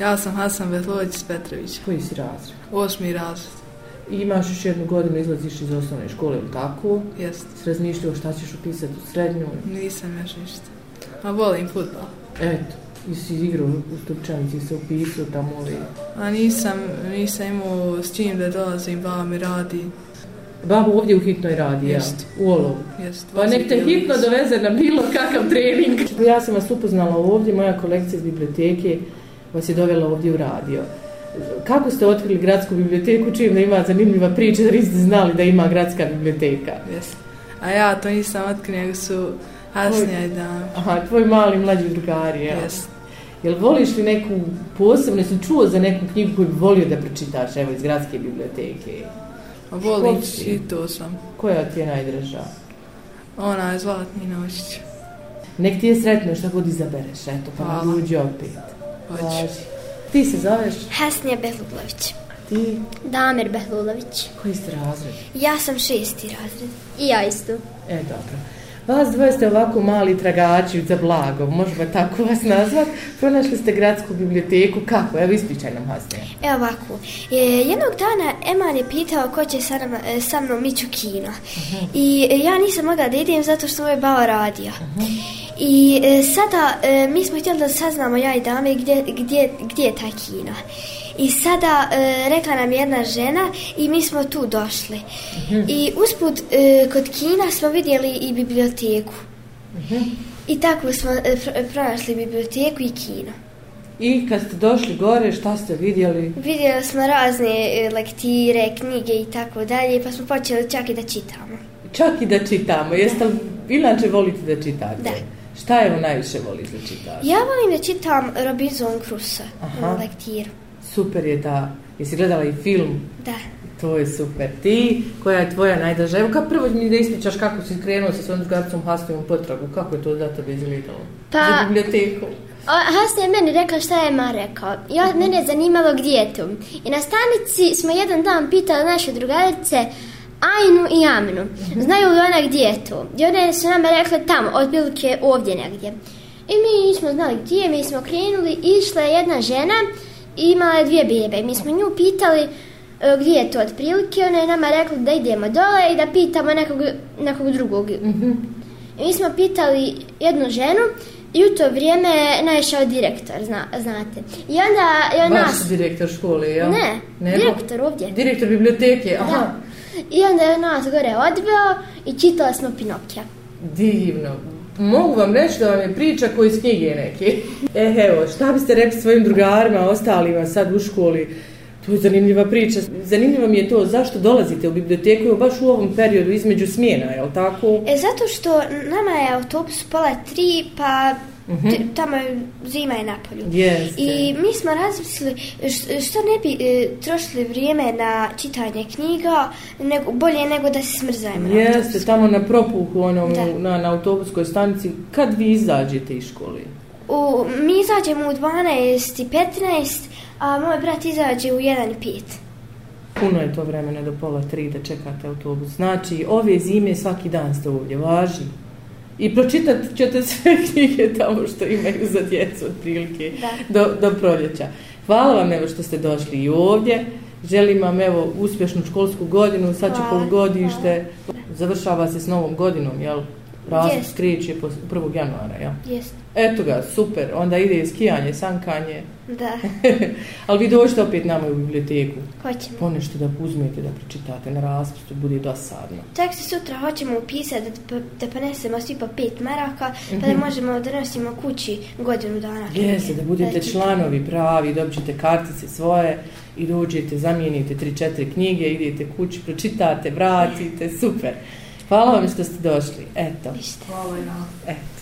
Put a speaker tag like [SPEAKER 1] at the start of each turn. [SPEAKER 1] Ja sam Hasan Betlović iz Petrovića,
[SPEAKER 2] Koji si razred?
[SPEAKER 1] osmi razred,
[SPEAKER 2] I imaš još jednu godinu, izlaziš iz osnovne škole, ili tako?
[SPEAKER 1] jest.
[SPEAKER 2] Si razmišljao šta ćeš upisati u srednju?
[SPEAKER 1] Nisam još ništa. A volim futbal.
[SPEAKER 2] Eto, i si igrao u Stupčanici, se upisao tamo, ali...
[SPEAKER 1] A nisam, nisam imao s čim da dolazim, baba mi radi,
[SPEAKER 2] Babo ovdje u hitnoj radi, ja,
[SPEAKER 1] Jeste.
[SPEAKER 2] u Olovu.
[SPEAKER 1] jest.
[SPEAKER 2] Pa nek te
[SPEAKER 1] vozim
[SPEAKER 2] hitno
[SPEAKER 1] djelić.
[SPEAKER 2] doveze na bilo kakav trening. Ja sam vas upoznala ovdje, moja kolekcija iz biblioteke vas je dovela ovdje u radio. Kako ste otkrili gradsku biblioteku, čim da ima zanimljiva priča, jer niste znali da ima gradska biblioteka?
[SPEAKER 1] Jest. A ja to nisam otkrije, nego su Hasnija i Dan.
[SPEAKER 2] Aha, tvoj mali mlađi drugari, ja.
[SPEAKER 1] Jest.
[SPEAKER 2] Jel voliš li neku posebnu, jesi li čuo za neku knjigu koju bi volio da pročitaš, evo, iz gradske biblioteke?
[SPEAKER 1] A volim,
[SPEAKER 2] Školski.
[SPEAKER 1] čitao sam.
[SPEAKER 2] Koja ti je najdraža?
[SPEAKER 1] Ona je Zlatni noćić.
[SPEAKER 2] Nek ti je sretno šta god izabereš, eto, pa
[SPEAKER 1] Hvala.
[SPEAKER 2] nam uđi opet. Pa
[SPEAKER 1] Hoću.
[SPEAKER 2] Važi. Ti se zoveš?
[SPEAKER 3] Hasnija Behlulović.
[SPEAKER 2] Ti?
[SPEAKER 3] Damir Behlulović.
[SPEAKER 2] Koji ste razred?
[SPEAKER 3] Ja sam šesti razred. I ja isto.
[SPEAKER 2] E, dobro. Vas dvoje ste ovako mali tragači za blago, možemo tako vas nazvat. Pronašli ste gradsku biblioteku, kako? Evo, ispričaj nam Hasnija.
[SPEAKER 3] E ovako, e, jednog dana Eman je pitao ko će sa, nam, e, sa mnom ići u kino. I e, ja nisam mogla da idem zato što mu je baba radija. I e, sada e, mi smo htjeli da saznamo ja i dame gdje, gdje, gdje je taj kino. I sada e, rekla nam jedna žena i mi smo tu došli. I usput e, kod kina smo vidjeli i biblioteku. I tako smo e, pr- pronašli biblioteku i kino.
[SPEAKER 2] I kad ste došli gore, šta ste vidjeli?
[SPEAKER 3] Vidjeli smo razne e, lektire, knjige i tako dalje, pa smo počeli čak i da čitamo.
[SPEAKER 2] Čak i da čitamo, jeste li, inače volite da čitate?
[SPEAKER 3] Da.
[SPEAKER 2] Šta je on najviše volite da čitate?
[SPEAKER 3] Ja volim da čitam Robinson Crusoe
[SPEAKER 2] Aha.
[SPEAKER 3] Aha. lektiru.
[SPEAKER 2] Super je ta, jesi gledala i film?
[SPEAKER 3] Da.
[SPEAKER 2] To je super. Ti, koja je tvoja najdraža? Evo, kad prvo mi da ispričaš kako si krenuo sa svojom drugaricom Hasnijom u potragu, kako je to za tebe izgledalo?
[SPEAKER 4] Pa-
[SPEAKER 2] Za biblioteku.
[SPEAKER 4] O, Hasna je meni rekla šta je Ma rekao. Ja, mene je zanimalo gdje je to. I na stanici smo jedan dan pitali naše drugarice Ajnu i Amnu. Znaju li ona gdje je to? I one su nama rekle tamo, otprilike ovdje negdje. I mi nismo znali gdje, mi smo krenuli, išla je jedna žena i imala je dvije bebe. Mi smo nju pitali e, gdje je to otprilike, ona je nama rekla da idemo dole i da pitamo nekog, nekog drugog I Mi smo pitali jednu ženu i u to vrijeme je naišao direktor, zna, znate. I onda je on
[SPEAKER 2] Vaš
[SPEAKER 4] nas...
[SPEAKER 2] direktor škole, jel?
[SPEAKER 4] Ne,
[SPEAKER 2] Nego?
[SPEAKER 4] direktor ovdje.
[SPEAKER 2] Direktor biblioteke, aha.
[SPEAKER 4] Da. I onda je on nas gore odveo i čitala smo Pinokija.
[SPEAKER 2] Divno. Mogu vam reći da vam je priča koji iz knjige neke. E, evo, šta biste rekli svojim drugarima, ostalima sad u školi? To je zanimljiva priča. Zanimljivo mi je to zašto dolazite u biblioteku evo, baš u ovom periodu između smjena, jel tako?
[SPEAKER 3] E, zato što nama je autobus pola tri, pa t- tamo je zima je napolju.
[SPEAKER 2] Mhm. Jeste.
[SPEAKER 3] I mi smo razmislili š- što ne bi e, trošili vrijeme na čitanje knjiga, nego, bolje nego da se smrzajmo. na autobusu.
[SPEAKER 2] Jeste, tamo na propuhu, onom,
[SPEAKER 3] Da.
[SPEAKER 2] na, na autobuskoj stanici, kad vi izađete iz škole?
[SPEAKER 3] U, mi izađemo u 12 i 15, a moj brat izađe u 1 i 5.
[SPEAKER 2] Puno je to vremena do pola tri da čekate autobus. Znači, ove zime svaki dan ste ovdje, važi. I pročitat ćete sve knjige tamo što imaju za djecu otprilike do, do proljeća. Hvala vam evo što ste došli i ovdje. Želim vam evo uspješnu školsku godinu, sad će
[SPEAKER 3] Hvala,
[SPEAKER 2] polugodište. Završava se s novom godinom, jel? Razlog
[SPEAKER 3] Jest.
[SPEAKER 2] kreće pos- 1. januara, jel?
[SPEAKER 3] Jest.
[SPEAKER 2] Eto ga, super. Onda ide i skijanje, sankanje.
[SPEAKER 3] Da,
[SPEAKER 2] Ali vi dođite opet nama u biblioteku
[SPEAKER 3] hoćemo.
[SPEAKER 2] ponešto da uzmete, da pročitate na raspustu, bude dosadno.
[SPEAKER 3] Tek se sutra hoćemo upisati da, da ponesemo svi po 5 maraka, pa da možemo da donosimo kući godinu dana.
[SPEAKER 2] Mhm. Jeste, da budete
[SPEAKER 3] čitamo.
[SPEAKER 2] članovi pravi, dobit ćete kartice svoje i dođete, zamijenite 3-4 knjige, idete kući, pročitate, vratite, super. Hvala vam što ste došli. Eto,
[SPEAKER 1] Hvala i vama.
[SPEAKER 2] eto.